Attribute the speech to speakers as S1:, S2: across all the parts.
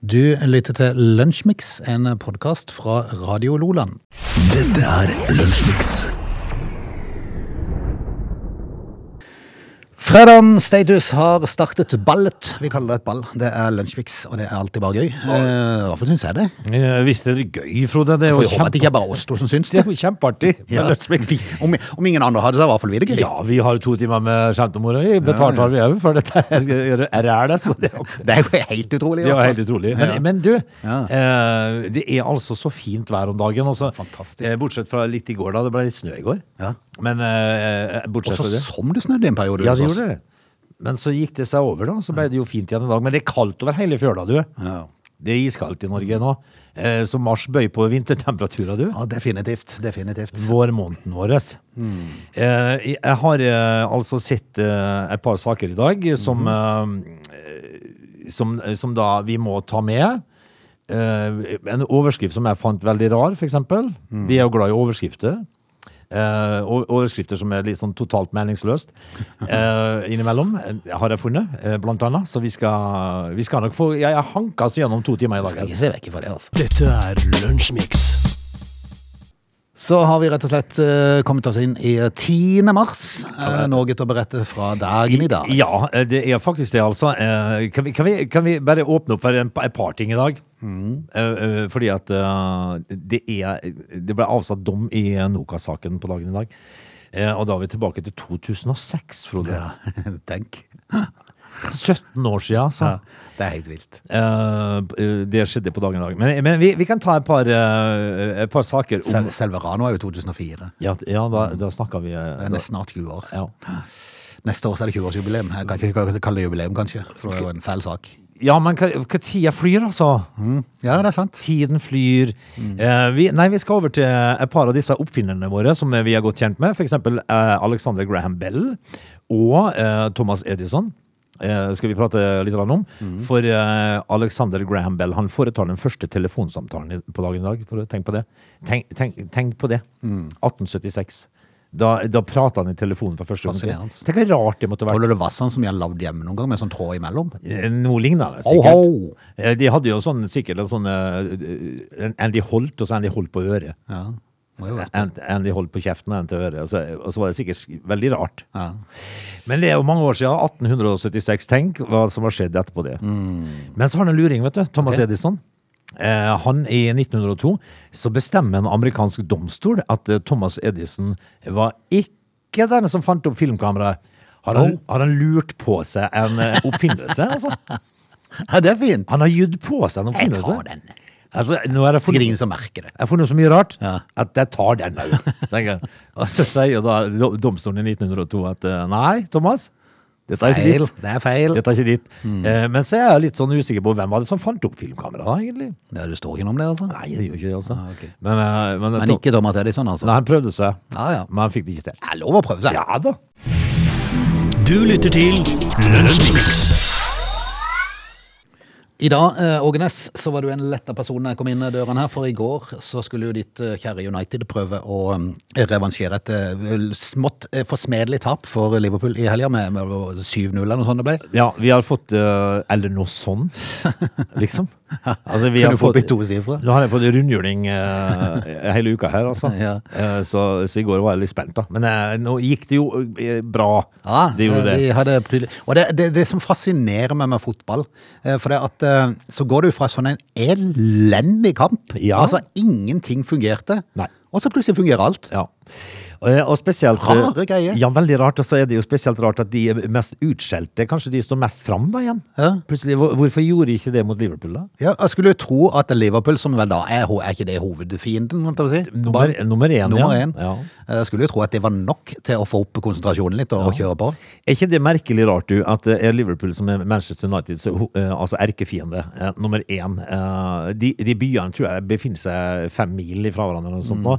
S1: Du lytter til Lunsjmix, en podkast fra Radio Loland.
S2: Dette er Lunsjmix.
S1: Fredagens status har startet ballet. Vi kaller det et ball. Det er Lunsjmix, og det er alltid bare gøy. Eh, Hvorfor syns jeg det?
S3: Jeg visste det Eh, er gøy, Frode. Det er
S1: For
S3: jo
S1: jeg håper at det
S3: kjempe,
S1: ikke er bare oss to som syns
S3: det
S1: det.
S3: er jo kjempeartig. med
S1: Ja.
S3: Lunsjmix.
S1: Vi- Om, om ingen andre hadde det, så var i hvert fall vi det gøy.
S3: Ja, vi har to timer med skjentemoro. Jeg Betalt har vi òg for dette. her rælet, så det er jo
S1: Det er jo helt utrolig. i
S3: det er jo
S1: hvert fall.
S3: helt utrolig. Men, men du,
S1: Ja.
S3: eh, det er altså så fint vær om dagen. Altså.
S1: Fantastisk.
S3: Eh, bortsett fra litt i går, da. Det ble litt snø i går.
S1: Ja.
S3: Men eh,
S1: Og
S3: bortsett
S1: så
S3: fra det
S1: som det altså. snødde i en periode.
S3: Ja,
S1: hos
S3: det
S1: oss.
S3: gjorde det. Men så gikk det seg over, da. Så ble det jo fint igjen i dag. Men det er kaldt over hele fjøla, du.
S1: Ja.
S3: Det er iskaldt i Norge nå. Eh, så mars bøy på vintertemperaturer, du.
S1: ja, definitivt. Definitivt.
S3: Mm. Vårmåneden vår. Eh, jeg har eh, altså sett eh, et par saker i dag som, eh, som, som da vi må ta med. Eh, en overskrift som jeg fant veldig rar, f.eks. eksempel Vi er jo glad i overskrifter. Eh, o- overskrifter som er litt sånn totalt meningsløst eh, innimellom, eh, har jeg funnet, eh, blant annet. Så vi skal, vi skal nok få Jeg har hanka oss gjennom to timer i dag.
S1: Skal ikke se vekk fra det, altså.
S2: Dette er Lunsjmix.
S1: Så har vi rett og slett eh, kommet oss inn i 10. mars. Eh, Noe til å berette fra dagen i dag.
S3: Ja, eh, det er faktisk det, altså. Eh, Kan vi, kan vi, kan vi bare åpne opp for en- et par ting i dag?
S1: Mm.
S3: Eh, eh, Fordi at eh, det er Det ble avsagt dom i eh, Noka-saken på dagen i dag. Eh, Og da er vi tilbake til 2006, Frode.
S1: Ja, tenk.
S3: 17 år siden, altså.
S1: Ja, det er helt vilt.
S3: Eh, eh, Det skjedde på dagen i dag. Men, men vi, vi kan ta et par, eh, et par saker om
S1: Sel selve Rano er jo 2004.
S3: Ja, ja da, da snakka vi eh,
S1: Det er nesten snart 20 år.
S3: ja.
S1: Neste år så er det 20-årsjubileum. Jeg kan ikke kalle det jubileum, kanskje, for det er jo en fæl sak.
S3: ja, men hva, hva tida flyr, altså.
S1: Ja, det er sant.
S3: Tiden flyr.
S1: Mm.
S3: Eh, vi, nei, vi skal over til et par av disse oppfinnerne våre som vi er godt kjent med. F.eks. Eh, Alexander Graham Bell og eh, Thomas Edison. Eh, skal vi prate litt grann om.
S1: Mm.
S3: For eh, Alexander Graham Bell han foretar den første telefonsamtalen i- på dagen i dag. For å- tenk på det. Tenk, tenk, tenk på det.
S1: Mm.
S3: 1876. Da, da prata han i telefonen for første gang.
S1: Fascinerende.
S3: Tenk hvor rart det måtte være.
S1: Tror du det var sånn som jeg har lagd hjemme noen gang, med sånn tråd imellom?
S3: Eh, Noe lignende,
S1: Ho,
S3: sikkert.
S1: ho!
S3: Eh, De hadde jo sånn, sikkert en sånn eh, en- Andy Holt, og så Andy Holt på øret.
S1: Ja, må jo være.
S3: En, Andy Holt på kjeften og en til øret. Og så, og så var det sikkert sk- veldig rart.
S1: Ja.
S3: Men det er jo mange år siden. 1876. Tenk hva som har skjedd etterpå det. Men så har han en luring, vet du. Thomas Edison. Eh, han i 1902 så bestemmer en amerikansk domstol at eh, Thomas Edison var ikke den som fant opp filmkameraet. Har han, har han lurt på seg en eh, oppfinnelse, altså?
S1: ja, det er fint.
S3: Han har gydd på seg en
S1: Jeg
S3: oppfinnelse.
S1: tar den.
S3: Altså, nå er det for...
S1: Sikkert ingen som merker det.
S3: Jeg har funnet så mye rart
S1: Ja.
S3: at jeg tar den òg. Og så sier da do- domstolen i 1902 at eh, nei, Thomas, dette er ikke
S1: Feil. Mm.
S3: ditt.
S1: Det er feil.
S3: Dette er ikke ditt. Eh, men så er jeg litt sånn usikker på hvem var det som fant opp filmkameraet, da, egentlig.
S1: Ja, det står ikke noe om det, altså.
S3: Nei, det gjør ikke det, altså.
S1: Ah, ok.
S3: Men, eh, men,
S1: Men ikke Thomas Edison, altså.
S3: Nei, han prøvde seg,
S1: Ja, ja.
S3: men han fikk det ikke til.
S1: Det er lov å prøve seg.
S3: Ja da.
S2: Du lytter til Lunsjmix.
S1: I dag, eh, Ågenes, så var du en letta person da jeg kom inn døren her, for i går så skulle jo ditt eh, kjære United prøve å eh, revansjere et eh, vel smått eh, forsmedelig tap for Liverpool i helga, med, med 7-0 eller noe sånt det ble.
S3: Ja, vi har fått eh, Eller noe sånn, liksom. Altså, vi
S1: Kunne fått to sifre.
S3: Nå har jeg fått rundhjuling eh, hele uka her, altså.
S1: Ja.
S3: Eh, så, så i går var jeg litt spent, da. Men eh, nå gikk det jo eh, bra.
S1: Ja,
S3: det
S1: eh,
S3: gjorde det.
S1: de hadde tydelig- og det, det, det som fascinerer meg med fotball, eh, for det at eh, så går du fra sånn en elendig kamp,
S3: Ja.
S1: altså ingenting fungerte,
S3: Nei.
S1: og så plutselig fungerer alt.
S3: Ja. Eh, Og spesielt
S1: Rare greier.
S3: Ja, veldig rart. Og så er det jo spesielt rart at de er mest utskjelte. Kanskje de står mest fram da igjen?
S1: Ja.
S3: Plutselig, hvor- Hvorfor gjorde de ikke det mot Liverpool, da?
S1: Ja, jeg skulle jo tro at Liverpool, som vel da er, ho- er ikke det hovedfienden, holdt jeg på å si.
S3: Nummer, nummer én,
S1: Nummer
S3: ja.
S1: én.
S3: ja.
S1: Jeg skulle jo tro at det var nok til å få opp konsentrasjonen litt og kjøre på.
S3: Er ikke det merkelig rart, du, at det er Liverpool som er Manchester Uniteds ho- eh, altså erkefiende eh, nummer én?
S1: Mm.
S3: Eh, De, de byene tror jeg befinner seg fem mil fra hverandre eller noe sånt nå.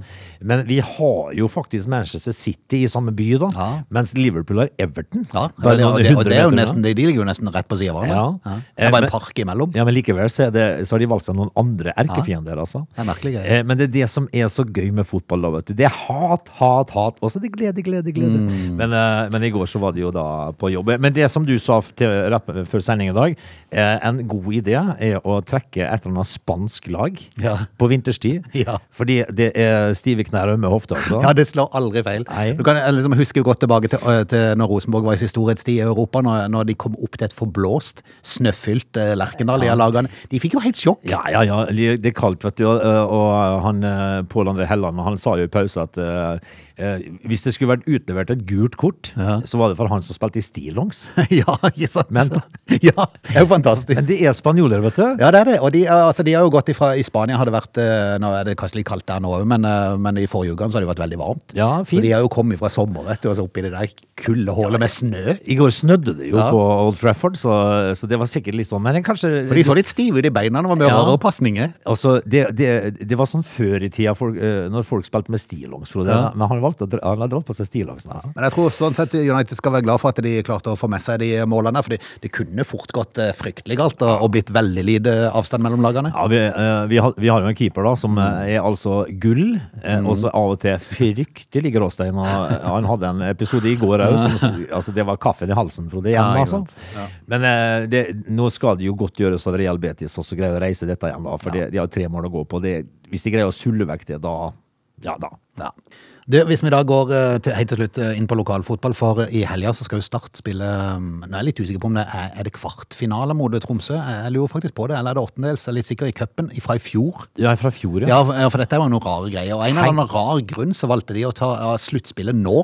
S3: Men vi har jo jo faktisk Manchester City i samme by, da.
S1: Ja.
S3: Mens Liverpool har Everton.
S1: Ja,
S3: Bare
S1: det, og,
S3: noen
S1: det, og det er jo
S3: hundre meter
S1: nesten, de ligger jo nesten rett på sida av hverandre.
S3: Ja.
S1: Ja. Det er
S3: Eh,
S1: bare
S3: men-
S1: en park imellom.
S3: Ja, men likevel så, er det, så har de valgt seg noen andre erkefiender, altså.
S1: Det er merkelig greier.
S3: Eh, Men det er det som er så gøy med fotball, da, vet du. Det er hat, hat, hat, og så er det glede, glede, glede.
S1: Mm.
S3: Men, eh, men i går så var det jo da på jobb. Men det som du sa f- til, rett før sending i dag, eh, en god idé er å trekke et eller annet spansk lag
S1: Ja.
S3: på vinterstid.
S1: Ja.
S3: Fordi det er stive knær og ømme hofter, altså.
S1: Ja, det slår aldri feil.
S3: Nei.
S1: Du kan eh, liksom huske godt tilbake til, eh, til når Rosenborg var i sin storhetstid i Europa, når, når de kom opp til et forblåst, snøfylt eh, Lerkendal, de her lagene. De fikk jo helt sjokk.
S3: Ja, ja, ja. li- Det er kaldt, vet du. Og, og han eh, Pål André Helland han sa jo i pause at eh, eh, hvis det skulle vært utlevert et gult kort, så var det for han som spilte i stillongs.
S1: ja, ikke sant?
S3: Men-
S1: ja, det er jo fantastisk.
S3: Men det er spanjoler, vet du.
S1: Ja, det er det. Og de, er- altså, de har jo gått ifra I Spania har det vært eh, Nå er det kanskje litt kaldt der nå òg, men, eh, men i forrige uke så har det jo vært veldig varmt.
S3: Ja,
S1: så
S3: fint.
S1: de har jo kommet fra sommer, vet du, og så opp i det der kuldehullet med snø.
S3: I går snødde det jo
S1: Ja.
S3: på Old Trafford, så, så det var sikkert litt sånn. Men det kanskje
S1: For de så litt stive ut i beina når man
S3: Ja.
S1: hører pasninger.
S3: Altså, det, det, det var sånn før i tida, folk, eh, når folk spilte med stillongs, Frode.
S1: Ja.
S3: Men han, valgte, å dra- han har dratt på seg stillongsen. Altså.
S1: Men jeg tror sånn sett United skal være glad for at de klarte å få med seg de målene. der, For det, det kunne fort gått eh, fryktelig galt og, og blitt veldig lite avstand mellom lagene.
S3: Ja, vi, eh, vi, har, vi har jo en keeper da som eh, er altså gull, eh, og så av og til fryktelig gråstein. Og, eh, han hadde en episode i går òg som altså, Det var kaffen i halsen, Frode. Igjen,
S1: Ja, ikke
S3: altså.
S1: sant. Ja.
S3: Men eh, det, nå skal det jo godt gjøres at Real Betis også greier å reise dette igjen, da, for det- de har tre mål å gå på. Det, hvis de greier å sulle vekk det, da Ja da.
S1: Ja. Du, hvis vi da går eh, til, helt til slutt eh, inn på lokalfotball, for eh, i helga så skal jo Start spille eh, Nå er jeg litt usikker på om det er, er det kvartfinale mot eh, Tromsø. Jeg jeg lurer faktisk på det. Eller er det åttendels? Jeg er litt sikker i cupen fra i fjor.
S3: Ja, fra fjor, ja.
S1: Ja, for- ja, for dette var noen rare greier. Og en eller annen rar grunn så valgte de å ta ja, sluttspillet nå.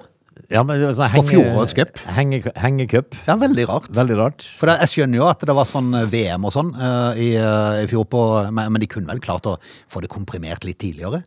S3: ja men, det var sånn
S1: På
S3: henge-
S1: fjorårets cup.
S3: henge- Hengecup.
S1: Det er veldig rart.
S3: Veldig rart.
S1: For det, jeg skjønner jo at det var sånn eh, VM og sånn eh, i, eh, i fjor, på, men, men de kunne vel klart å få det komprimert litt tidligere?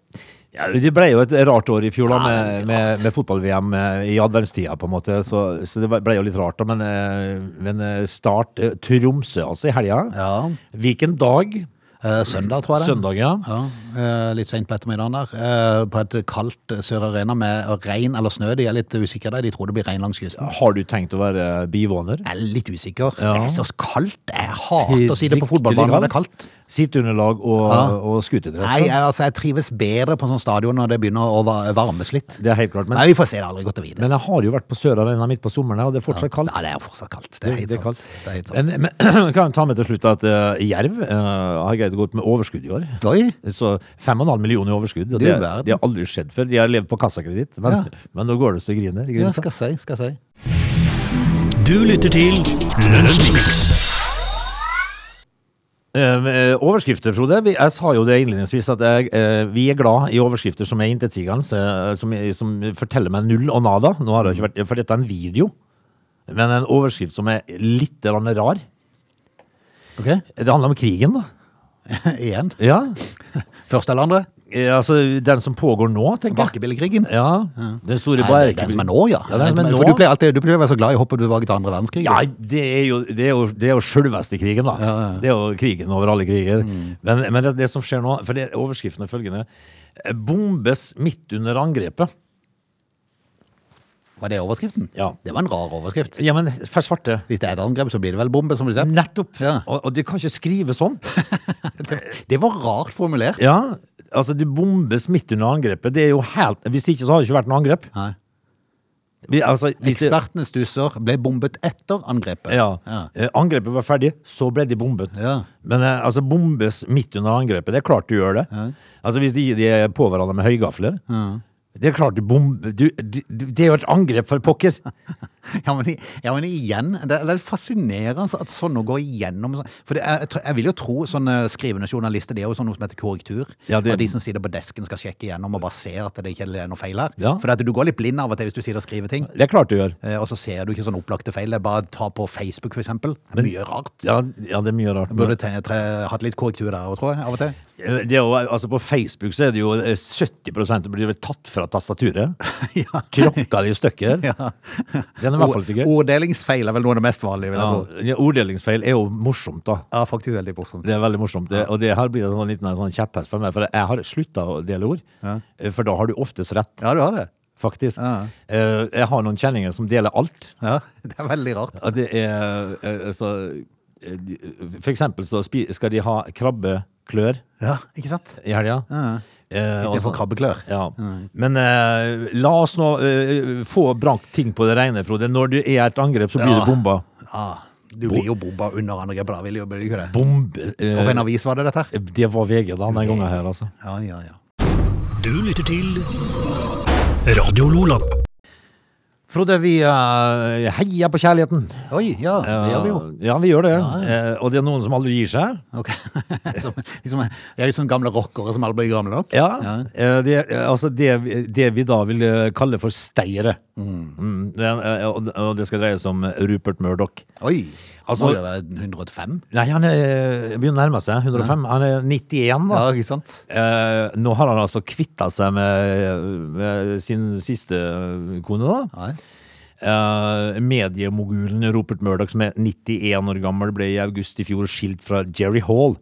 S3: Ja, det ble jo et rart år i fjor da,
S1: Ja,
S3: med,
S1: veldig
S3: med,
S1: rart.
S3: med fotball-VM eh, i adventstida, på en måte. Så, så det ble jo litt rart, da. Men, eh, men eh, start eh, Tromsø, altså, i helga.
S1: Ja.
S3: Hvilken dag?
S1: Eh, Søndag, tror jeg det.
S3: Søndag, ja.
S1: Ja, eh, litt sent på ettermiddagen der. eh, På et kaldt eh, Sør-Arena med regn eller snø. De er litt usikre der. De tror det blir regn langs kysten.
S3: Har du tenkt å være bivåner?
S1: Jeg er litt usikker.
S3: Ja.
S1: Det er så kaldt. Jeg hater å si det på fotballbanen når det er kaldt.
S3: Sitteunderlag og,
S1: Ja.
S3: og skutedress?
S1: Nei,
S3: da?
S1: jeg, altså, jeg trives bedre på sånn stadion når det begynner å va- varmes litt.
S3: Det er helt klart. Men,
S1: Nei, vi får se. Det er aldri godt å vite.
S3: men jeg har jo vært på Sør Arena midt på sommeren, og det er fortsatt kaldt.
S1: Ja, det er fortsatt kaldt. Det er helt
S3: Det er
S1: sant.
S3: kaldt.
S1: Det er helt sant.
S3: Men, men kan jeg ta med til slutt at eh, Jerv eh, har greid å gå ut med overskudd i år.
S1: Oi!
S3: Så 5,5 millioner i overskudd. Og
S1: Du
S3: det,
S1: verden.
S3: det har aldri skjedd før. De har levd på kassakreditt, men,
S1: Ja.
S3: men nå går det så det griner. ikke
S1: Ja,
S3: sant?
S1: skal si, skal si.
S2: Du lytter til Lunsjmix.
S3: Eh, eh, overskrifter, Frode. Vi- Jeg sa jo det innledningsvis at jeg, eh, vi er glad i overskrifter som er intetsigende, eh, som, som forteller meg null og nada. Nå har det ikke vært, For dette er en video, men en overskrift som er litt grann rar.
S1: Ok,
S3: Det handler om krigen, da.
S1: igjen.
S3: Ja,
S1: Første eller andre?
S3: Eh, altså Den som pågår nå, tenker jeg.
S1: Barkebillekrigen.
S3: Ja, Den store
S1: Nei, det er den som er nå, ja.
S3: Ja, den som er
S1: For du
S3: nå.
S1: pleier alltid du pleier å være så glad i å hoppe tilbake til andre verdenskrig.
S3: Ja, det er jo, det er jo, det er jo selveste krigen, da. Det er jo krigen over alle kriger.
S1: Mm.
S3: Men, men det, det som skjer nå, for det, overskriften er følgende Bombes midt under angrepet.
S1: Var det overskriften?
S3: Ja.
S1: Det var en rar overskrift.
S3: Ja, men for svarte.
S1: Hvis det er et angrep, så blir det vel bombe, som du sier.
S3: Nettopp.
S1: Ja.
S3: Og, og de kan ikke skrive sånn.
S1: Det var rart formulert.
S3: Ja, altså det bombes midt under angrepet. Det er jo helt Hvis ikke så har det ikke vært noe angrep.
S1: Nei.
S3: Vi, altså, hvis det-
S1: Ekspertene stusser, ble bombet etter angrepet.
S3: Ja. Eh, Angrepet var ferdig, så ble de bombet.
S1: Ja.
S3: Men eh, altså, bombes midt under angrepet, det er klart du gjør det. Altså Hvis de, de er på hverandre med høygafler Det er klart du bomber du, du, du, Det er jo et angrep for pokker!
S1: Ja, men, i- ja, men igjen, det er det er fascinerende at sånne går igjennom. sånn. For det, er- jeg, tror- jeg vil jo tro sånne skrivende journalister, det er jo sånn noe som heter korrektur.
S3: Ja, det-
S1: At de som sitter på desken skal sjekke igjennom og bare se at det ikke er noe feil her.
S3: Ja.
S1: For at du går litt blind av og til hvis du sitter og skriver ting.
S3: Det er klart du gjør.
S1: eh, Og så ser du ikke sånn opplagte feil. Det er Bare ta på Facebook, for eksempel. Det er mye rart.
S3: Ja, ja det er mye rart. Men,
S1: Burde te- tre- hatt litt korrektur der òg, tror jeg. Av og til.
S3: eh, det er jo, altså På Facebook så er det jo eh, 70 blir vel tatt fra tastaturet.
S1: ja.
S3: Tråkka de i stykker.
S1: Ja.
S3: Den er i hvert fall sikker.
S1: Orddelingsfeil er vel noe av det mest vanlige, vil jeg
S3: Ja,
S1: tro.
S3: ja, orddelingsfeil er jo morsomt, da.
S1: Ja, faktisk veldig morsomt.
S3: Det er veldig morsomt. Det, og det her blir en sånn liten en sånn kjepphest Eh, for meg. For jeg har slutta å dele ord. For da har du oftest rett.
S1: Ja, du har det.
S3: faktisk.
S1: Ja.
S3: Eh, jeg har noen kjenninger som deler alt.
S1: Ja, det er veldig rart.
S3: Ja, det er eh, altså eh, de- For eksempel så spi- skal de ha krabbeklør
S1: Ja, ikke sant?
S3: i helga.
S1: Ja.
S3: Eh, og
S1: Istedenfor
S3: sånn-
S1: krabbeklør.
S3: Ja. Men eh, la oss nå eh, få brakt ting på det rene, Frode. Når du er et angrep, så blir
S1: Ja.
S3: det bomba.
S1: Ja, du blir jo bomba under angrepet, da. Vil jo, blir du ikke det?
S3: Bombe eh,
S1: Hvilken avis var det, dette her?
S3: Det var VG da, den gangen her, altså.
S1: Ja, ja, ja.
S2: Du lytter til Radio Lola.
S3: Frode, vi eh, heier på kjærligheten.
S1: Oi, ja, det gjør vi jo.
S3: Eh, Ja, vi gjør det. Eh, og det er noen som aldri gir seg.
S1: Ok. Som, liksom, det er jo sånne gamle rockere som alle blir gamle nok.
S3: Ja, eh, Det, eh, altså det, vi- det vi da vil eh, kalle for steiere. Mm, det, eh, og, og det skal dreie seg om eh, Rupert Murdoch.
S1: Oi!
S3: Altså-
S1: må det være 105?
S3: Nei, han er, eh, begynner å nærme seg 105. Han er 91, da.
S1: Ja, ikke sant?
S3: Eh, nå har han altså kvitta seg med, med sin siste kone, da.
S1: Ja.
S3: Eh, mediemogulen Rupert Murdoch, som er 91 år gammel, ble i august i fjor skilt fra Jerry Hall.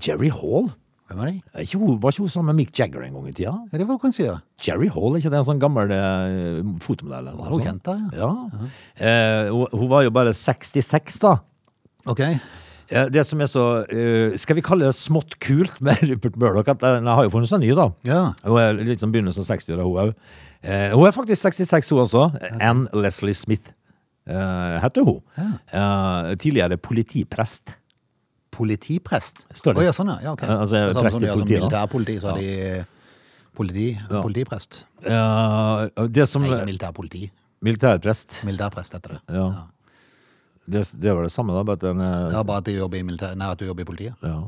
S3: Jerry Hall?
S1: Hvem er de?
S3: Er Eh, ikke hun- Var ikke hun sammen med Mick Jagger en gang i tida?
S1: Ja, det var kanskje ja.
S3: Jerry Hall, er ikke det en sånn gammel eh, fotomodell? eller noe
S1: Var hun
S3: sånt?
S1: kjent da,
S3: Ja. Eh, hun, hun var jo bare 66, da.
S1: Ok.
S3: Eh, Det som er så, eh, skal vi kalle det smått kult med Rupert Murdoch, at den har jo funnet seg ny, da.
S1: Ja.
S3: Hun er litt sånn begynnelsen av 60-åra, hun òg. Eh, hun er faktisk 66, hun også. Ann Leslie Smith eh, heter hun. Eh, tidligere politiprest.
S1: Politiprest?
S3: Står det.
S1: Å, ja, sånn, ja. ja ok.
S3: Ja, altså,
S1: Det er samme
S3: prest
S1: som
S3: i
S1: de har som
S3: politiet, da.
S1: Militærpoliti, så har de politi, politiprest.
S3: Eh, det som
S1: Nei, ikke militærpoliti.
S3: Militærprest.
S1: Militærprest heter det.
S3: Ja. Det, det var det samme, da. Bare at den, eh,
S1: Ja, bare at du jobber i, militær... Nei, at du jobber i politiet.
S3: Ja.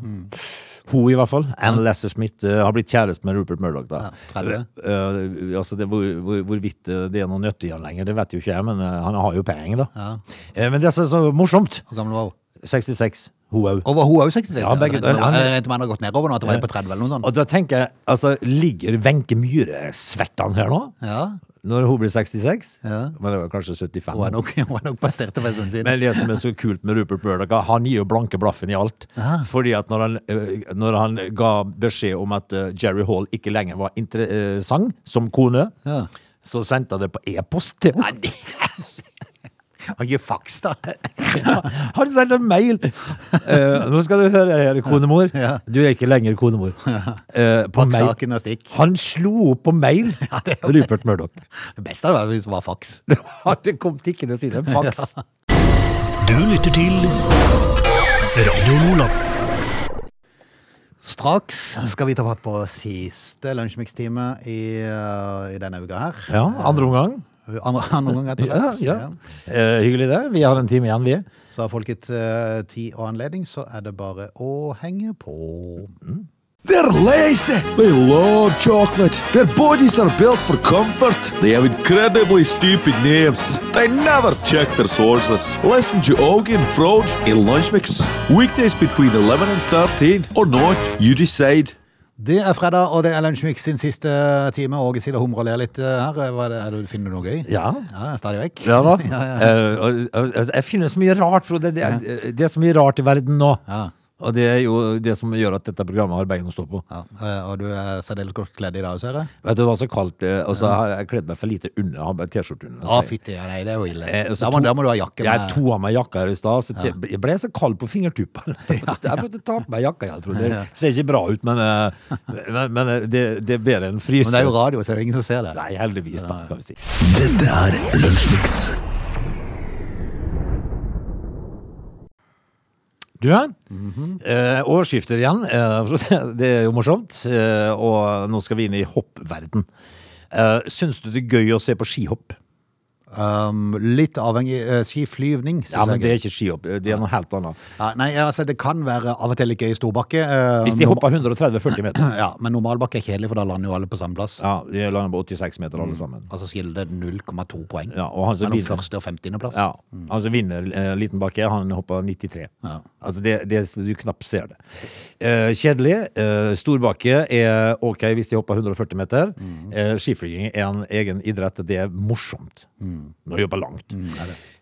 S3: Hun i hvert fall, Anne Lesser Smith, eh, har blitt kjæreste med Rupert Murdoch. da.
S1: Ja, 30.
S3: Eh, eh, altså det, hvor, hvor, hvorvidt eh, det er noe nyttig han lenger, det vet jo ikke jeg, men eh, han har jo penger, da. Eh, men det som er så morsomt,
S1: Hvor gammel var hun?
S3: 66, hun òg.
S1: Og var hun òg 66?
S3: Ja, begge-
S1: jeg regnet
S3: han-
S1: med- jeg regnet med han har gått nedover nå, at det var på 30 eller noe sånt.
S3: Og da tenker jeg, altså, ligger Wenche Myhre svettan her nå?
S1: Ja,
S3: Når hun blir 66?
S1: Ja.
S3: Men det var kanskje 75.
S1: hun er nok, hun er nok passert det for en stund siden.
S3: Men det som er så kult med Rupert Murdoch, han gir jo blanke blaffen i alt. Fordi at når han, eh, når han ga beskjed om at eh, Jerry Hall ikke lenger var interessant som kone,
S1: Ja.
S3: så sendte han det på e-post til henne.
S1: Han gir faks, da.
S3: Han sendte en mail! Eh, nå skal du høre her, konemor.
S1: Ja.
S3: Du er ikke lenger konemor. Eh, på
S1: Pakk
S3: mail.
S1: saken og stikk.
S3: Han slo opp på mail, Rupert Murdoch.
S1: Det beste hadde vært hvis det var faks.
S3: Det kom tikkende siden. Faks.
S2: Du lytter til Radio Lola.
S1: Straks skal vi ta fatt på siste lunsjmikstime i, eh, i denne uka her.
S3: Ja, andre omgang.
S1: Andre, andre gang, rett og
S3: Ja,
S1: slett.
S3: ja. Eh, hyggelig det. Vi har en time igjen, vi.
S1: Ja. Så har folk et eh, tid og anledning, så er det bare å henge på.
S4: They're lazy. They love chocolate. Their bodies are built for comfort. They have incredibly stupid names. They never check their sources. Listen to Augie and Frode in Lunch Mix. Weekdays between 11 and 13 or not, you decide.
S1: Det er fredag, og det er Lunsjmix sin siste eh, time. Åge sitter og humrer og ler litt eh, her. Hva er det, er det, finner du noe gøy?
S3: Ja.
S1: Ja, stadig vekk.
S3: Ja da.
S1: Ja, ja.
S3: Eh, og- og- altså, jeg finner så mye rart, Frode. Det, er- eh, det er så mye rart i verden nå.
S1: Ja.
S3: Og det er jo det som gjør at dette programmet har bein å stå på.
S1: Ja, eh, og du er særdeles godt kledd i dag, ser jeg.
S3: Vet du, det var så kaldt, eh, og så har jeg kledd meg for lite under. Jeg har bare T-skjorte under.
S1: Å, fytti, ja, nei, det er jo ille.
S3: Eh, og så
S1: Da må,
S3: to-
S1: da må du ha jakke
S3: Jeg
S1: med
S3: tok av meg jakka her i stad, så te- jeg ble så kald på fingertuppene. Jeg prøvde å ta på meg jakka igjen, Frode. Det ser ikke bra ut, men, eh, men, men eh, det, det er bedre enn fryser.
S1: Men det er jo radio, så det er jo ingen som ser det.
S3: Nei, heldigvis, da, kan vi si. Du, ja. eh, årsskifter igjen. Eh, for det er jo morsomt. Eh, og nå skal vi inn i hoppverden. Eh, syns du det er gøy å se på skihopp?
S1: Um, litt avhengig uh, skiflyvning, synes
S3: Ja, men
S1: jeg.
S3: det er ikke skihopp. Det er noe helt annet.
S1: Ja, nei, altså, det kan være av og til litt gøy i storbakke. eh,
S3: Hvis de
S1: norm-
S3: hopper 130-40 meter.
S1: Ja, men normalbakke er kjedelig, for da lander jo alle på samme plass.
S3: Ja, de lander på 86 meter alle sammen.
S1: Altså skiller det 0,2 poeng
S3: Ja, og han som
S1: mellom
S3: vinner-
S1: første og femtiende plass.
S3: Ja, han som vinner eh, liten bakke, han hopper 93.
S1: Ja.
S3: Altså det, det, du knapt ser det. Eh, kjedelig. Eh, storbakke er ok hvis de hopper 140 meter. Eh, skiflyging er en egen idrett. Det er morsomt. Nå jobber langt.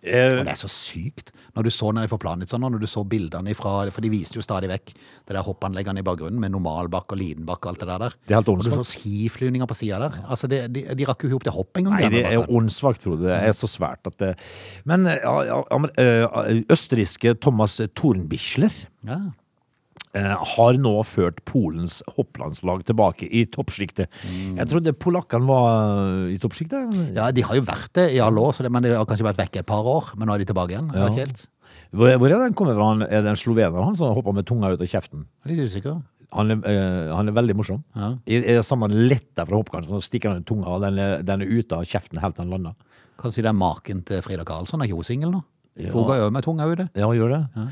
S3: Eh,
S1: Og det er så sykt. Når du så nede for planet, sånn, og når du så bildene fra, for de viste jo stadig vekk det der hoppanleggene i bakgrunnen med normalbakk og lidenbakk og alt det der. der.
S3: Det er helt
S1: og du så
S3: åndssvakt.
S1: skiflyvninger på sida der. Altså, det, de, de rakk jo ikke opp til hopp engang.
S3: Nei,
S1: der
S3: det
S1: med
S3: er
S1: bakken.
S3: åndssvakt, Frode. Det er så svært at det Men eh, ja, amer- eh, østerrikske Thomas Tornbichler
S1: Ja.
S3: eh, har nå ført Polens hopplandslag tilbake i toppsjiktet. Jeg trodde polakkene var eh, i toppsjiktet.
S1: ja, de har jo vært det i alle år, så det, men de har kanskje vært vekke et par år. Men nå er de tilbake igjen. Ja. Ikke helt.
S3: Hvor, hvor er den kommet fra? Han- Er det en slovener han som hopper med tunga ut av kjeften?
S1: Litt usikker.
S3: Han er, eh, han er veldig morsom.
S1: Ja.
S3: I, I det samme lettet fra hoppkanten, så stikker han ut tunga, og den er, den er ute av kjeften helt til han lander.
S1: Kanskje det er maken til Frida Karlsson. Er ikke hun singel nå? For hun ga jo med tunga ute.
S3: Ja, han gjør det.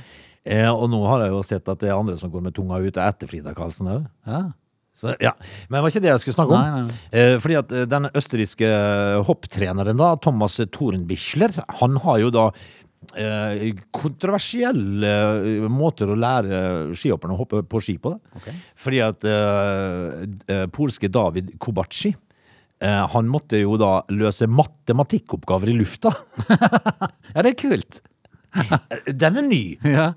S3: Eh, og nå har jeg jo sett at det er andre som går med tunga ute etter Frida Karlsen òg.
S1: Ja.
S3: Så, ja. Men det var ikke det jeg skulle snakke om.
S1: Nei, nei,
S3: Eh, fordi at eh, den østerrikske eh, hopptreneren, da, Thomas Thorenbichler, han har jo da eh, kontroversielle eh, måter å lære skihopperne å hoppe på ski på. Da.
S1: Ok.
S3: Fordi at eh, d- eh, polske David Kubatschi eh, han måtte jo da løse matematikkoppgaver i lufta.
S1: ja, det er kult.
S3: Den er ny!
S1: Ja.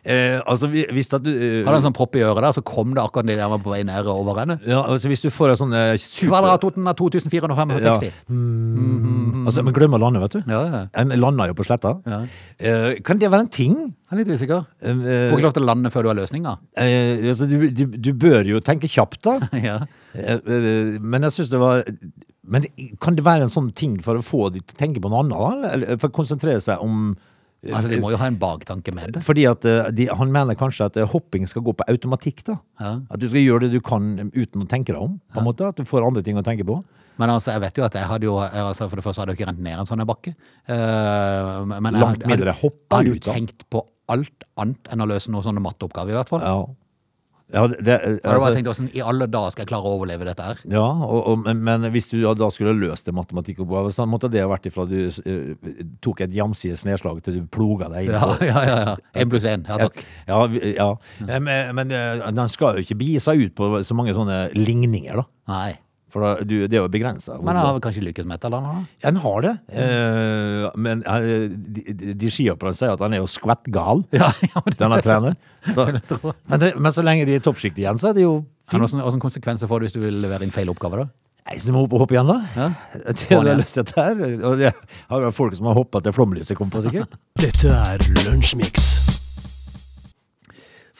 S3: Eh, altså, vi- hvis at du eh,
S1: Hadde en sånn propp i øret der, så kom det akkurat det der var på vei ned over henne.
S3: ja, altså, Hvis du får en sånn eh, super...
S1: Kvadratroten er 2465.
S3: Altså, men glemmer landet, vet du.
S1: Ja, ja.
S3: En lander jo på sletta.
S1: Ja.
S3: Eh, kan det være en ting?
S1: Jeg er litt usikker.
S3: Eh, eh,
S1: Får ikke lov til å lande før du har løsninga.
S3: eh, altså, du, du, du bør jo tenke kjapt, da.
S1: Ja.
S3: Eh, eh, men jeg syns det var Men kan det være en sånn ting for å få de til å tenke på noe annet? da? Eller- Eller for å konsentrere seg om
S1: Altså, de må jo ha en baktanke med det.
S3: fordi at eh, de, Han mener kanskje at eh, hopping skal gå på automatikk. da
S1: Ja.
S3: At du skal gjøre det du kan eh, uten å tenke deg om. På en måte, At du får andre ting å tenke på.
S1: Men altså, jeg vet jo at jeg hadde jo jeg, altså, For det første hadde jeg ikke rent ned en sånn her bakke. Eh, men jeg
S3: Langt
S1: hadde-
S3: mindre
S1: hadde-
S3: hoppa
S1: Hadde jo
S3: ut, da.
S1: tenkt på alt annet enn å løse noen sånne matteoppgaver, i hvert fall.
S3: Ja, ja det, det, eh,
S1: Jeg hadde bare
S3: altså-
S1: tenkt hvordan i alle dager skal jeg klare å overleve dette her?
S3: Ja, og, og, men- men hvis du da skulle løst det matematikkoppgavet, så måtte det ha vært ifra du eh, tok et jamsides nedslag til du ploga deg inn.
S1: Ja,
S3: på-
S1: ja, ja. ja. En pluss én. Ja, takk.
S3: Ja, vi- ja. Eh, Men, men eh, den skal jo ikke bie seg ut på så mange sånne ligninger, da.
S1: Nei.
S3: For da, du, det er jo begrensa.
S1: Men jeg har vel kanskje lykkes med et eller annet? da?
S3: En har det. eh, Men eh, de, de- de skihopperne sier at han er jo skvettgal,
S1: Ja, ja, men det-
S3: denne treneren. Så, men, det, men så lenge de er i toppsjiktet igjen, så er det jo
S1: Men hvordan, hvordan konsekvenser får det hvis du vil levere inn feil oppgave, da?
S3: Nei, så må vi opp og hoppe igjen, da. Det
S1: Få
S3: har
S1: den
S3: jeg
S1: igjen.
S3: lyst til dette her. Og det har jo folk som har hoppa til flomlyset kom på, sikkert.
S2: Dette er Lunsjmix.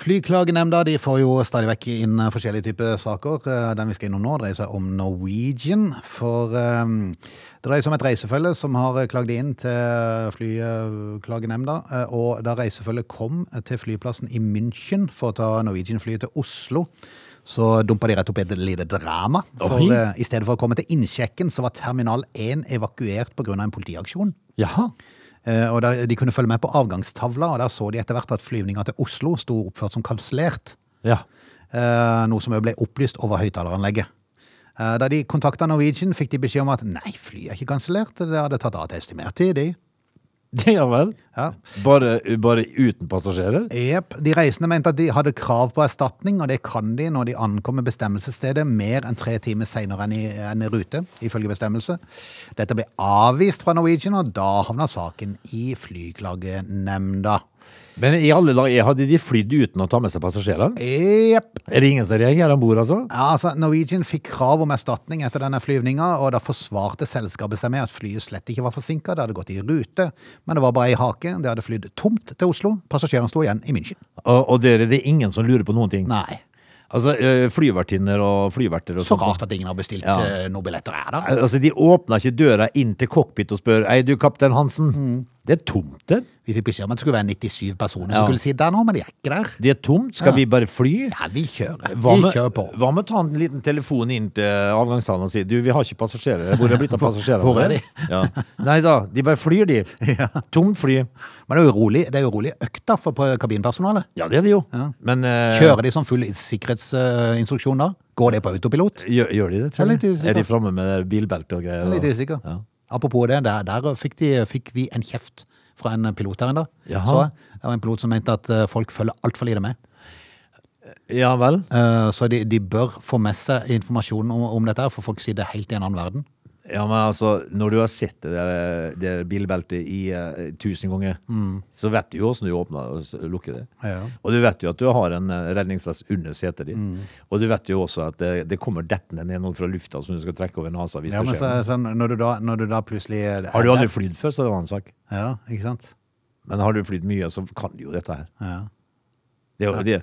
S1: Flyklagenemnda de får jo stadig vekk inn eh, forskjellige typer saker. Eh, Den vi skal innom nå dreier seg om Norwegian. For eh, det dreier seg om et reisefølge som har eh, klagd inn til Flyklagenemnda. eh, Og da reisefølget kom eh, til flyplassen i München for å ta Norwegian-flyet til Oslo, så dumpa de rett opp i et lite drama. For
S3: Oi.
S1: eh, i stedet for å komme til innsjekken, så var terminal 1 evakuert pga. en politiaksjon.
S3: Jaha.
S1: Eh, Og der, De kunne følge med på avgangstavla, og der så de etter hvert at flyvninga til Oslo sto oppført som kansellert.
S3: Ja.
S1: eh, Noe som jo ble opplyst over høyttaleranlegget. Eh, Da de kontakta Norwegian, fikk de beskjed om at nei, flyet er ikke kansellert. Det hadde tatt av til estimert tid. de.
S3: Det ja vel.
S1: Ja.
S3: Bare, bare uten passasjerer?
S1: Jep. De reisende mente at de hadde krav på erstatning, og det kan de når de ankommer bestemmelsesstedet mer enn tre timer seinere enn, i- enn i rute, ifølge bestemmelse. Dette ble avvist fra Norwegian, og da havna saken i Flyklagenemnda.
S3: Men i alle dager, hadde de flydd uten å ta med seg passasjerer?
S1: Jepp.
S3: Er det ingen som reagerer om bord, altså?
S1: Ja, altså, Norwegian fikk krav om erstatning etter denne flyvninga, og da forsvarte selskapet seg med at flyet slett ikke var forsinka, det hadde gått i rute, men det var bare ei hake, det hadde flydd tomt til Oslo, passasjerene sto igjen i München.
S3: Og, og dere, det er ingen som lurer på noen ting?
S1: Nei.
S3: Altså, eh, flyvertinner og flyverter og
S1: Så
S3: sånt.
S1: rart at ingen har bestilt
S3: Ja.
S1: eh, noen billetter her, da.
S3: Altså, de åpner ikke døra inn til cockpit og spør Ei, du, kaptein Hansen. Det er tomt der.
S1: Vi fikk beskjed om at det skulle være 97 personer
S3: Ja.
S1: som skulle sitte der nå, men de er ikke der.
S3: Det er tomt. Skal
S1: Ja.
S3: vi bare fly?
S1: Ja, vi kjører.
S3: Hva
S1: Vi
S3: med,
S1: kjører på.
S3: hva med å ta en liten telefon inn til avgangshallen og si Du, vi har ikke passasjerer. Hvor er det blitt av passasjerene?
S1: hvor er de?
S3: Ja. Nei da, de bare flyr, de. Tomt fly.
S1: Men det er jo rolig, det er jo rolig økt da for på kabinpersonalet.
S3: Ja, det er det jo. Men eh,
S1: Kjører de som full sikkerhetsinstruksjon da? Går det på autopilot?
S3: Gjør, gjør de det,
S1: Jeg
S3: tror
S1: er
S3: jeg?
S1: litt usikker.
S3: Er de framme med bilbelte og greier?
S1: Jeg er litt
S3: og-
S1: usikker.
S3: Ja.
S1: Apropos det, der, der fikk, de, fikk vi en kjeft fra en pilot her en dag.
S3: Jaha.
S1: Så jeg. Det var en pilot som mente at eh, folk følger altfor lite med.
S3: ja vel.
S1: Eh, Så de, de bør få med seg informasjon om, om dette, her, for folk sier det er helt i en annen verden.
S3: Ja, men altså, når du har sett det der, eh, det der bilbeltet i eh, tusen ganger,
S1: Mm.
S3: så vet du jo åssen du åpner og s- lukker det.
S1: Ja.
S3: Og du vet jo at du har en eh, redningsvest under setet ditt.
S1: Mm.
S3: Og du vet jo også at det, det kommer dettende ned noe fra lufta som du skal trekke over nesa hvis
S1: Ja, men
S3: det
S1: så,
S3: skjer. noe.
S1: så når, du da, når du da plutselig er
S3: Har du aldri flydd før, så er det en annen sak.
S1: Ja, ikke sant?
S3: Men har du flydd mye, så kan du jo dette her.
S1: Ja.
S3: Det, er jo- det,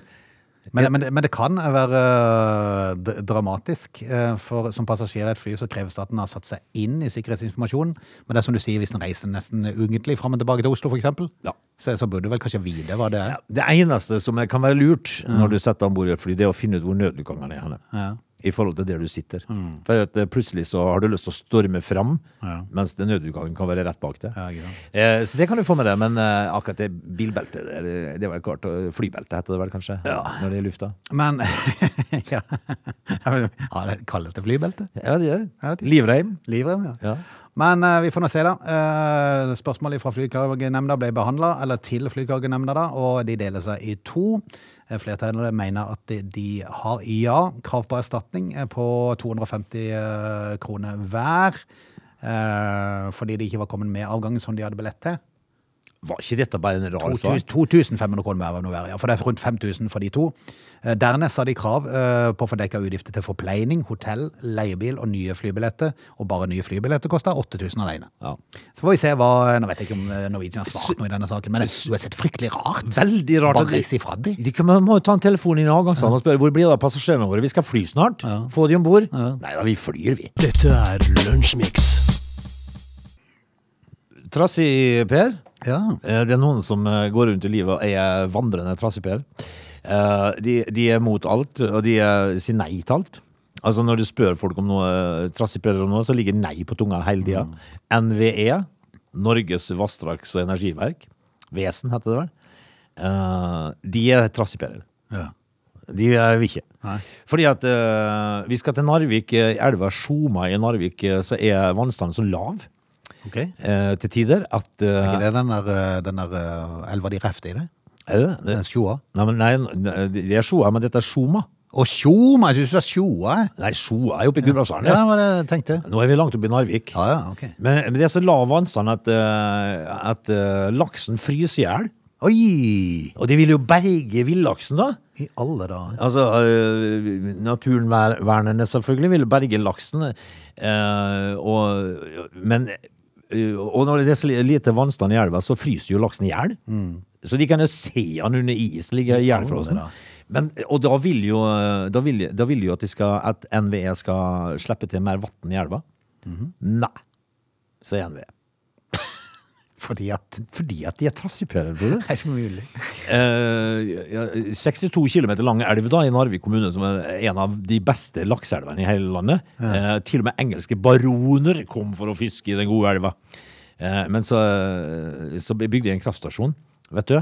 S1: Men, men, det- men det kan være øh, d- dramatisk. øh, For som passasjer i et fly så kreves det at en har satt seg inn i sikkerhetsinformasjonen. Men det er som du sier, hvis en reiser nesten ukentlig fram og tilbake til Oslo, f.eks.,
S3: Ja.
S1: så, så burde du vel kanskje vite hva det er.
S3: ja, det eneste som kan være lurt når
S1: Mm.
S3: du setter om bord i et fly, det er å finne ut hvor nødutgangen er. henne.
S1: Ja.
S3: I forhold til der du sitter. For at eh, plutselig så har du lyst til å storme fram,
S1: Mm. Ja.
S3: mens den nødutgangen kan være rett bak deg.
S1: Ja, ikke sant.
S3: Eh, så det kan du få med deg, men eh, akkurat det bilbeltet der, eh, det var klart. og Flybelte heter det vel kanskje, når det er i lufta.
S1: Men ja. ja, det kalles det flybelte.
S3: Ja, det gjør
S1: Ja,
S3: det.
S1: det-
S3: Livrem.
S1: Livrem, ja.
S3: Ja.
S1: Men eh, vi får nå se, da. Eh, spørsmålet fra Flyklagenemnda ble behandla, eller til Flyklagenemnda, da, og de deler seg i to. Eh, Flertallet mener at de, de har ja, krav på erstatning eh, på 250 eh, kroner hver. eh, fordi de ikke var kommet med avgangen som de hadde billett til.
S3: Var ikke dette bare en rar
S1: 2000
S3: sak?
S1: 2500 kroner hver, var det nå være, ja, for det er rundt 5000 for de to. Eh, Dernest har de krav eh, på å få dekka utgifter til forpleining, hotell, leiebil og nye flybilletter. Og bare nye flybilletter koster 8000 alene.
S3: Ja.
S1: Så får vi se hva Nå vet jeg ikke om eh, Norwegian har svart noe i denne saken, men det er uansett fryktelig rart.
S3: Veldig rart.
S1: Bare
S3: at de-
S1: reise ifra de.
S3: De kan, må jo ta en telefon inn i avgangshallen og spørre hvor blir det av passasjerene våre, vi skal fly snart. Få de om bord. Nei da, vi flyr, vi.
S2: Dette er Lunsjmix.
S3: Trassig, Per.
S1: Ja.
S3: Eh, Det er noen som eh, går rundt i livet og er vandrende trassiper. Eh, De, de er mot alt, og de eh, sier nei til alt. Altså Når du spør folk om noe eh, trassiper om noe, så ligger nei på tunga hele tida.
S1: Mm.
S3: NVE, E, Norges vassdrags- og energiverk, Vesen heter det vel, Eh, de er trassiperer.
S1: ja.
S3: De eh, vil ikke.
S1: Nei.
S3: Fordi at eh, vi skal til Narvik, eh, i elva Sjoma i Narvik, eh, så er vannstanden så lav
S1: Ok. Er
S3: eh, til tider at eh,
S1: ikke det den der, eh, den der eh, elva de refte i det?
S3: er det? det,
S1: Den Sjoa?
S3: Nei, men nei, nei, det er Sjoa, men dette er Sjoma.
S1: Og Sjoma! Jeg syns det er Sjoa. jeg.
S3: Nei, Sjoa er jo oppe i Gudbrandsdalen.
S1: Ja,
S3: Ja.
S1: det var det jeg tenkte.
S3: Nå er vi langt oppe i Narvik.
S1: Ja, ja, ok.
S3: Men, men det er så lav vannstand at, eh, at eh, laksen fryser i hjel.
S1: Oi!
S3: Og de vil jo berge villaksen, da.
S1: I alle dager.
S3: Altså, uh, naturvernerne selvfølgelig vil berge laksen, eh, og, men eh, Og når det er så lite vannstand i elva, så fryser jo laksen i hjel. Så de kan jo se han under is ligge i hjelfrosen.
S1: alle
S3: Men, og da vil jo, eh, da vil, da vil jo at, de skal, at NVE skal slippe til mer vann i elva. Nei, sier NVE.
S1: Fordi at
S3: Fordi at de er trassipører, bror.
S1: Det er ikke mulig.
S3: Eh, ja, 62 km lang elv da, i Narvik kommune, som er en av de beste lakseelvene i hele landet. Eh, til og med engelske baroner kom for å fiske i den gode elva. Eh, men så, så bygde de en kraftstasjon, vet du.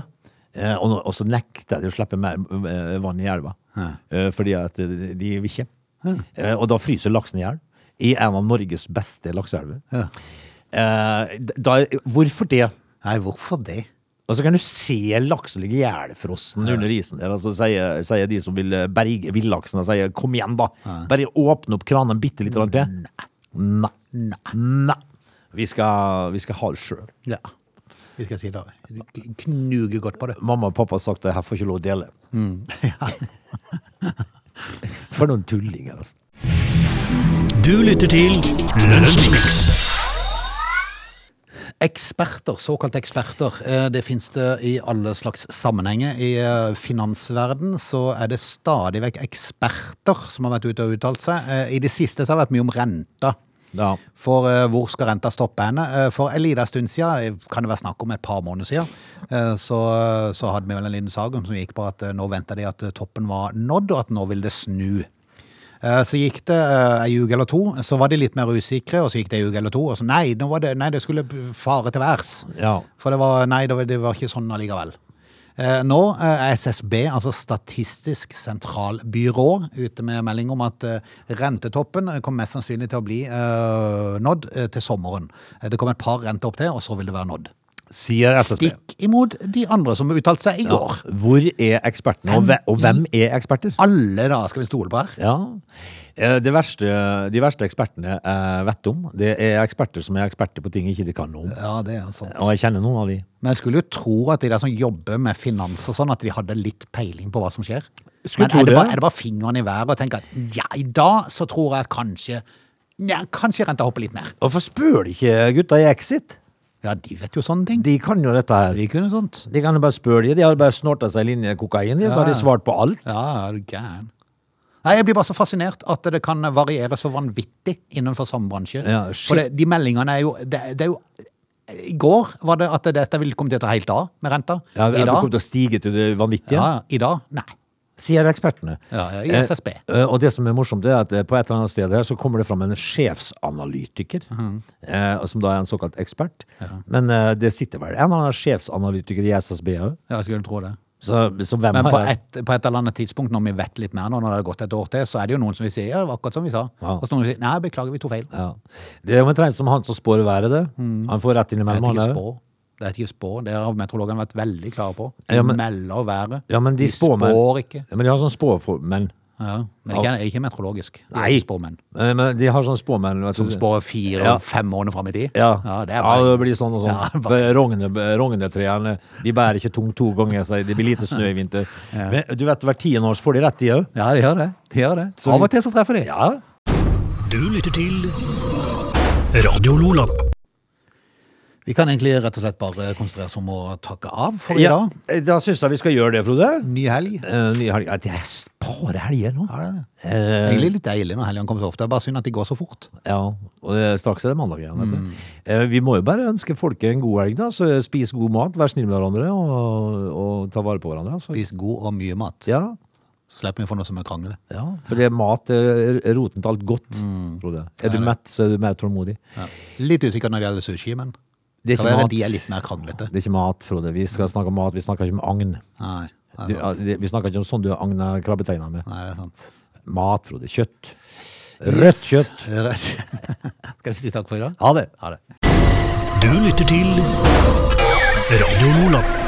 S3: Eh, og, nå- og så nekta de å slippe mer eh, vann i elva. Eh, fordi at de de vil ikke. Eh, og da fryser laksen i hjel. I en av Norges beste lakseelver. Eh, da, hvorfor det?
S1: Nei, hvorfor det?
S3: Og så kan du se laksen ligge ihjelfrossen under isen der, og så sier, sier de som vil eh, berge villaksen, og sier 'kom igjen, da'. Bare åpne opp kranen bitte litt grann til. Nei. Nei. Nei. Vi skal, vi skal ha det sjøl.
S1: Ja. Vi skal si det. Knuge godt på det.
S3: Mamma og pappa har sagt at her får ikke lov å dele. Mm. For noen tullinger, altså.
S2: Du lytter til Lunsjmix.
S1: Eksperter, såkalte eksperter, eh, det finnes det i alle slags sammenhenger. I eh, finansverden så er det stadig vekk eksperter som har vært ute og uttalt seg. Eh, I det siste så har det vært mye om renta.
S3: Ja.
S1: For eh, hvor skal renta stoppe henne? Eh, For en liten stund siden, eh, kan det være snakk om et par måneder siden, eh, så, så hadde vi vel en liten sag om som gikk på at eh, nå venta de at eh, toppen var nådd, og at nå vil det snu. Eh, Så gikk det eh, ei uke eller to, så var de litt mer usikre, og så gikk det ei uke eller to, og så nei, nå var det, nei, det skulle fare til værs.
S3: ja.
S1: For det var, nei, det var- det var ikke sånn allikevel. Eh, Nå eh, er SSB, altså Statistisk sentralbyrå, ute med melding om at eh, rentetoppen eh, kommer mest sannsynlig til å bli eh, nådd eh, til sommeren. Eh, Det kommer et par renter opp til, og så vil det være nådd.
S3: sier SSB.
S1: Stikk imot de andre som uttalte seg i
S3: Ja.
S1: går.
S3: Hvor er ekspertene, og, hve- og hvem er eksperter?
S1: Alle da skal vi stole på her.
S3: Ja. Eh, Det verste, de verste ekspertene jeg vet om, det er eksperter som er eksperter på ting ikke de kan noe om.
S1: Ja, det er sant.
S3: Og jeg kjenner noen av de.
S1: Men jeg skulle jo tro at de der som jobber med finans og sånn, at de hadde litt peiling på hva som skjer.
S3: Skulle
S1: Men
S3: tro
S1: er det,
S3: det.
S1: bare, er det bare fingeren i været og tenker at ja, i dag så tror jeg at kanskje ja, kanskje renta hopper litt mer.
S3: Hvorfor spør de ikke gutta i Exit?
S1: Ja, de vet jo sånne ting.
S3: De kan jo dette her.
S1: De kunne sånt.
S3: De kan jo bare spørre de. De har bare snorta seg en linje kokain, de, så har de
S1: Ja.
S3: svart på alt.
S1: Ja, er du gæren. Nei, Jeg blir bare så fascinert at det kan variere så vanvittig innenfor samme bransje.
S3: Ja, shit.
S1: For det, de meldingene er jo, det, det er jo I går var det at dette ville komme til å ta helt av med renta.
S3: Ja,
S1: I
S3: det det
S1: dag?
S3: kommer til å stige til det vanvittige,
S1: Ja, ja, I dag? Nei.
S3: sier ekspertene.
S1: Ja, ja, i
S3: Eh,
S1: SSB.
S3: eh, Og det som er morsomt, det er at eh, på et eller annet sted her så kommer det fram en sjefsanalytiker, eh, og som da er en såkalt ekspert. Men eh, det sitter vel en eller annen sjefsanalytiker i SSB òg.
S1: Ja, jeg skulle tro det.
S3: Så, så hvem
S1: Men på
S3: har
S1: et, på et eller annet tidspunkt, når vi vet litt mer nå, når det har gått et år til, så er det jo noen som vil si ja, det var akkurat som vi sa.
S3: Ja.
S1: Og så noen som sier nei, beklager, vi tok feil.
S3: ja. Det er jo omtrent som han som spår været, det. Han får rett
S1: Det
S3: innimellom.
S1: heter
S3: han
S1: Mm. ikke
S3: er jo.
S1: spå. Det heter ikke spå. Det har meteorologene vært veldig klare på. De
S3: Ja, men-
S1: melder været.
S3: Ja, men de spåmenn-
S1: spår ikke.
S3: Ja, Men de har sånn spåmenn.
S1: Ja. Men ikke, ikke meteorologisk. De er
S3: Nei.
S1: Spåmenn.
S3: Eh, Men de har sånn spåmenn vet du.
S1: Som spår fire
S3: Ja.
S1: og fem måneder fram i tid.
S3: Ja.
S1: det er bare...
S3: det blir sånn og sånn.
S1: Ja,
S3: For Rogne, Rognetrærne de bærer ikke tungt to ganger, så det blir lite snø i vinter. Men du vet, Hvert tiende år så får de rett, de òg.
S1: ja, de gjør det. De gjør det. Av og til så treffer de.
S3: Ja.
S2: Du lytter til Radio Lola.
S1: Vi kan egentlig rett og slett bare konsentrere oss om å takke av for i
S3: ja. eh,
S1: dag.
S3: Da syns jeg vi skal gjøre det, Frode.
S1: Ny helg.
S3: Eh, ny helg. Ja, Det er s- bare helger nå.
S1: Ja, det er det.
S3: Eh,
S1: Egentlig litt deilig når helgene kommer så ofte. Det er Bare synd at de går så fort.
S3: ja, og det er straks er det mandag igjen. vet du.
S1: Mm.
S3: Eh, vi må jo bare ønske folket en god helg, da. Så eh, spis god mat, vær snill med hverandre og, og ta vare på hverandre. Så.
S1: Spis god og mye mat.
S3: Ja,
S1: Så slipper vi å få noe som er krangle.
S3: Ja, for det er mat er er roten til alt godt,
S1: Mm.
S3: Frode. Er du mett, så er du mer tålmodig.
S1: Ja. Litt usikker når det gjelder sushi, men
S3: Det er
S1: kan
S3: ikke
S1: være
S3: mat.
S1: de er litt mer kranglete.
S3: Det er ikke mat, Frode. Vi skal snakke om mat, vi snakker ikke om agn.
S1: Nei, nei,
S3: Du,
S1: det er sant.
S3: ja, det- vi snakker ikke om sånn du agner krabbeteina med.
S1: nei, det er sant.
S3: Mat, Frode. Kjøtt. Rødt
S1: Yes.
S3: kjøtt.
S1: Rødt. Skal vi si takk for i dag?
S3: Ha det.
S1: Ha det.
S2: Du lytter til Radio Lola.